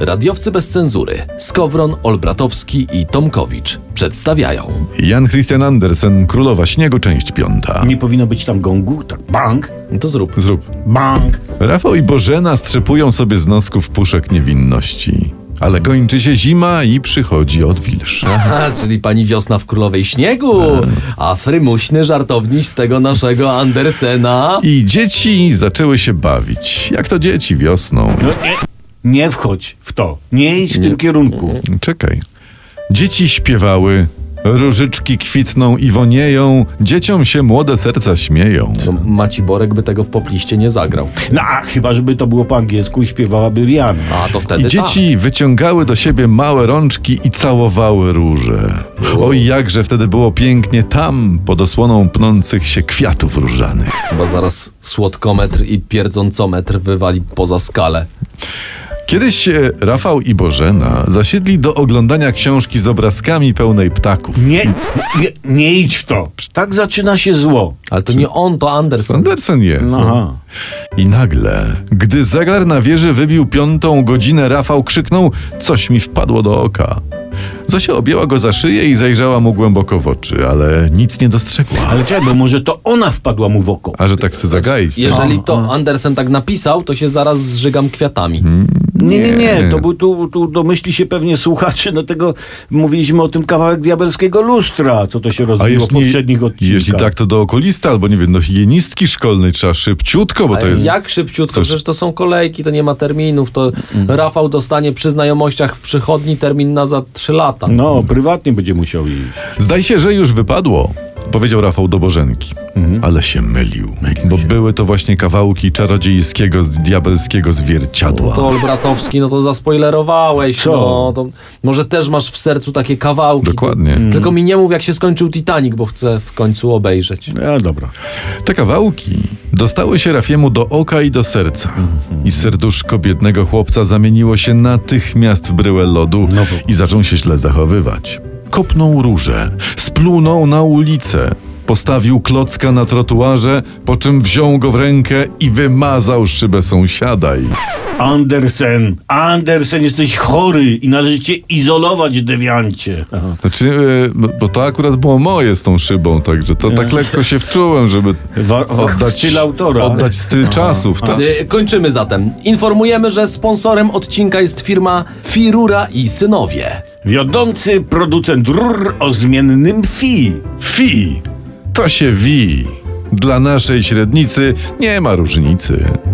Radiowcy bez cenzury Skowron, Olbratowski i Tomkowicz przedstawiają Jan Christian Andersen, Królowa Śniegu, część piąta. Nie powinno być tam gongu, tak bang, To zrób. Zrób. bang. Rafał i Bożena strzepują sobie z nosków puszek niewinności. Ale kończy się zima i przychodzi odwilż. Aha, czyli pani wiosna w Królowej Śniegu, a frymuśny żartowniś z tego naszego Andersena. I dzieci zaczęły się bawić. Jak to dzieci wiosną. No nie, nie wchodź w to, nie idź w tym kierunku. Mhm. Czekaj. Dzieci śpiewały, różyczki kwitną i wonieją, dzieciom się młode serca śmieją. To Maci Borek by tego w popliście nie zagrał. No a chyba, żeby to było po angielsku i śpiewałaby Rihanna. A to I wtedy tak. dzieci wyciągały do siebie małe rączki i całowały róże. Oj, jakże wtedy było pięknie tam, pod osłoną pnących się kwiatów różanych. tak. Chyba zaraz słodkometr i pierdzącometr wywali poza skalę. Kiedyś e, Rafał i Bożena zasiedli do oglądania książki z obrazkami pełnej ptaków. Nie, nie, nie idź w to. Tak zaczyna się zło. No. Ale to nie on, to Andersen. Andersen jest. No. Aha. I nagle, gdy zegar na wieży wybił piątą godzinę, Rafał krzyknął: Coś mi wpadło do oka. Zosia objęła go za szyję i zajrzała mu głęboko w oczy, ale nic nie dostrzegła. Ale czekaj, bo może to ona wpadła mu w oko. A że tak chce zagaić. to- Jeżeli to Andersen tak napisał, to się zaraz zżygam kwiatami. Mhm. Nie, nie, nie, to był tu, tu domyśli się pewnie słuchaczy, no tego mówiliśmy o tym kawałek diabelskiego lustra, co to się A rozbiło w jeśli, poprzednich odcinkach. jeśli tak, to do okolista albo nie wiem, do higienistki szkolnej trzeba szybciutko, bo to Ale jest. Jak szybciutko, Coś- Mhm. przecież to są kolejki, to nie ma terminów, to Rafał dostanie przy znajomościach w przychodni termin na za 3 lata. No, prywatnie będzie musiał iść. Zdaje się, że już wypadło, powiedział Rafał do Bożenki. Ale się mylił, bo były to właśnie kawałki czarodziejskiego, z- diabelskiego zwierciadła. To Olbratowski, no to zaspoilerowałeś, Co? no to może też masz w sercu takie kawałki. Dokładnie. Mhm. Ty- Tylko mi nie mów, jak się skończył Titanic, bo chcę w końcu obejrzeć. No dobra. Te kawałki dostały się Rafiemu do oka i do serca. I serduszko biednego chłopca zamieniło się natychmiast w bryłę lodu No i zaczął się źle zachowywać. Kopnął róże, splunął na ulicę, postawił klocka na trotuarze, po czym wziął go w rękę i wymazał szybę sąsiada. I... Andersen, Andersen, jesteś chory i należy cię izolować, dewiancie. Znaczy, e, bo- bo to akurat było moje z tą szybą, także to tak lekko się wczułem, żeby Wa- wa- oddać, styl autora. oddać styl czasów. Tak? Y, Kończymy zatem. Informujemy, że sponsorem odcinka jest firma Firura i Synowie. Wiodący producent rur o zmiennym fi. Fi! To się wi! Dla naszej średnicy nie ma różnicy.